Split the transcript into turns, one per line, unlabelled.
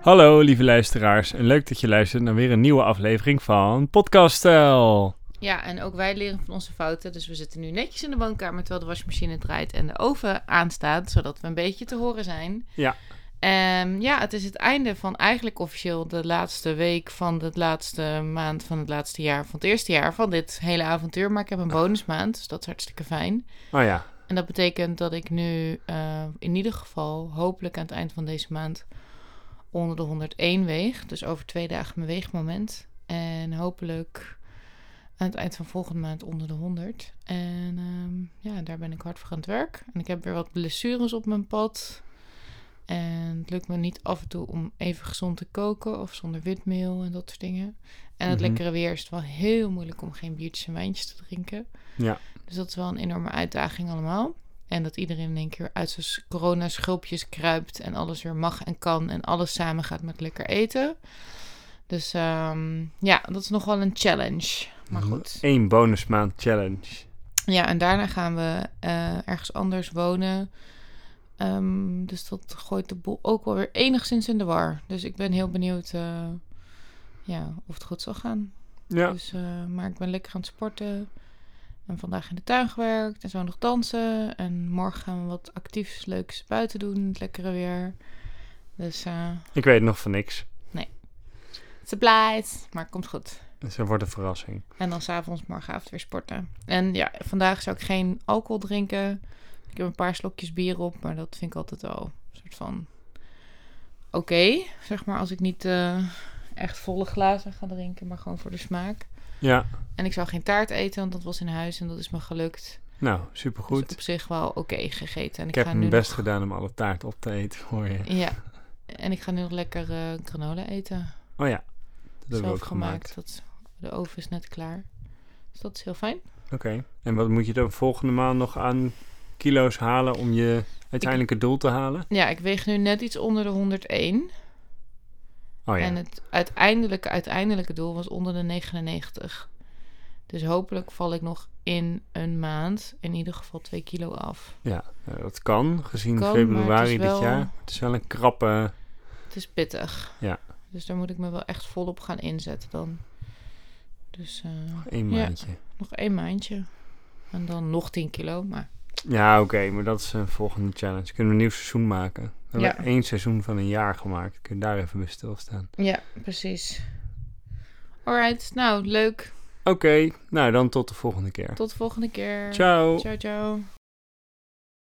Hallo lieve luisteraars en leuk dat je luistert naar weer een nieuwe aflevering van Podcast Stijl.
Ja, en ook wij leren van onze fouten. Dus we zitten nu netjes in de woonkamer terwijl de wasmachine draait en de oven aanstaat, zodat we een beetje te horen zijn.
Ja.
Ehm, ja, het is het einde van eigenlijk officieel de laatste week van de laatste maand van het laatste jaar van het eerste jaar van dit hele avontuur. Maar ik heb een bonusmaand, dus dat is hartstikke fijn.
Oh ja,
En dat betekent dat ik nu eh, in ieder geval hopelijk aan het eind van deze maand onder de 101 weeg. Dus over twee dagen mijn weegmoment. En hopelijk aan het eind van volgende maand onder de 100. En ehm, ja, daar ben ik hard voor aan het werk. En ik heb weer wat blessures op mijn pad. En het lukt me niet af en toe om even gezond te koken of zonder witmeel en dat soort dingen. En het
Mhm.
lekkere weer is het wel heel moeilijk om geen biertjes en wijntjes te drinken.
ja,
Dus dat is wel een enorme uitdaging allemaal. En dat iedereen in één keer uit zijn s- corona-schulpjes kruipt en alles weer mag en kan en alles samen gaat met lekker eten. Dus ehm, ja, dat is nog wel een challenge. Maar goed.
één bonusmaand challenge.
Ja, en daarna gaan we eh, ergens anders wonen. Ehm, dus dat gooit de boel ook wel weer enigszins in de war. Dus ik ben heel benieuwd eh, ja, of het goed zal gaan.
Ja,
Dus, eh, maar ik ben lekker aan het sporten. En vandaag in de tuin gewerkt. En zo nog dansen. En morgen gaan we wat actiefs leuks buiten doen. in Het lekkere weer. Dus eh
ik weet nog van niks.
supplies. Maar het komt goed.
Dus dat wordt een verrassing.
En dan s'avonds morgenavond weer sporten. En ja, vandaag zou ik geen alcohol drinken. Ik heb een paar slokjes bier op. Maar dat vind ik altijd wel een soort van... Oké, zeg maar. Als ik niet eh, echt volle glazen ga drinken. Maar gewoon voor de smaak.
Ja,
En ik zou geen taart eten, want dat was in huis en dat is me gelukt.
nou,
Dus
supergoed.
op zich wel oké gegeten.
Ik
En ik,
heb
ga nu
mijn best
nog-
gedaan om alle taart op te eten, hoor je.
Ja. En ik ga nu nog lekker eh, granola eten.
Oh ja, dat hebben we
Zelf
ook gemaakt.
gemaakt. Dat, is- de oven is net klaar. Dus dat is heel fijn.
Oké, en wat moet je dan volgende maand nog aan kilo's halen om je uiteindelijke doel te halen?
Ja, ik weeg nu net iets onder de 101.
Oh ja,
En het uiteindelijke, uiteindelijke doel was onder de 99. Dus hopelijk val ik nog in een maand in ieder geval 2 kilo af.
nou, dat kan, gezien
Kan, maar het is
februari dit
wel-
jaar. Het is wel een krappe...
Het is pittig.
Ja.
Dus daar moet ik me wel echt volop gaan inzetten dan. Dus eh,
Eén
Ja.
maandje.
nog één maandje. En dan nog 10 kilo. Maar
Ja, oké, maar dat is een volgende challenge. Kunnen we een nieuw seizoen maken? We hebben
Ja.
één seizoen van een jaar gemaakt. Kun je daar even bij stilstaan?
ja, precies. Alright, nou leuk.
Oké, nou dan tot de volgende keer.
Tot de volgende keer.
Ciao.
Ciao, ciao.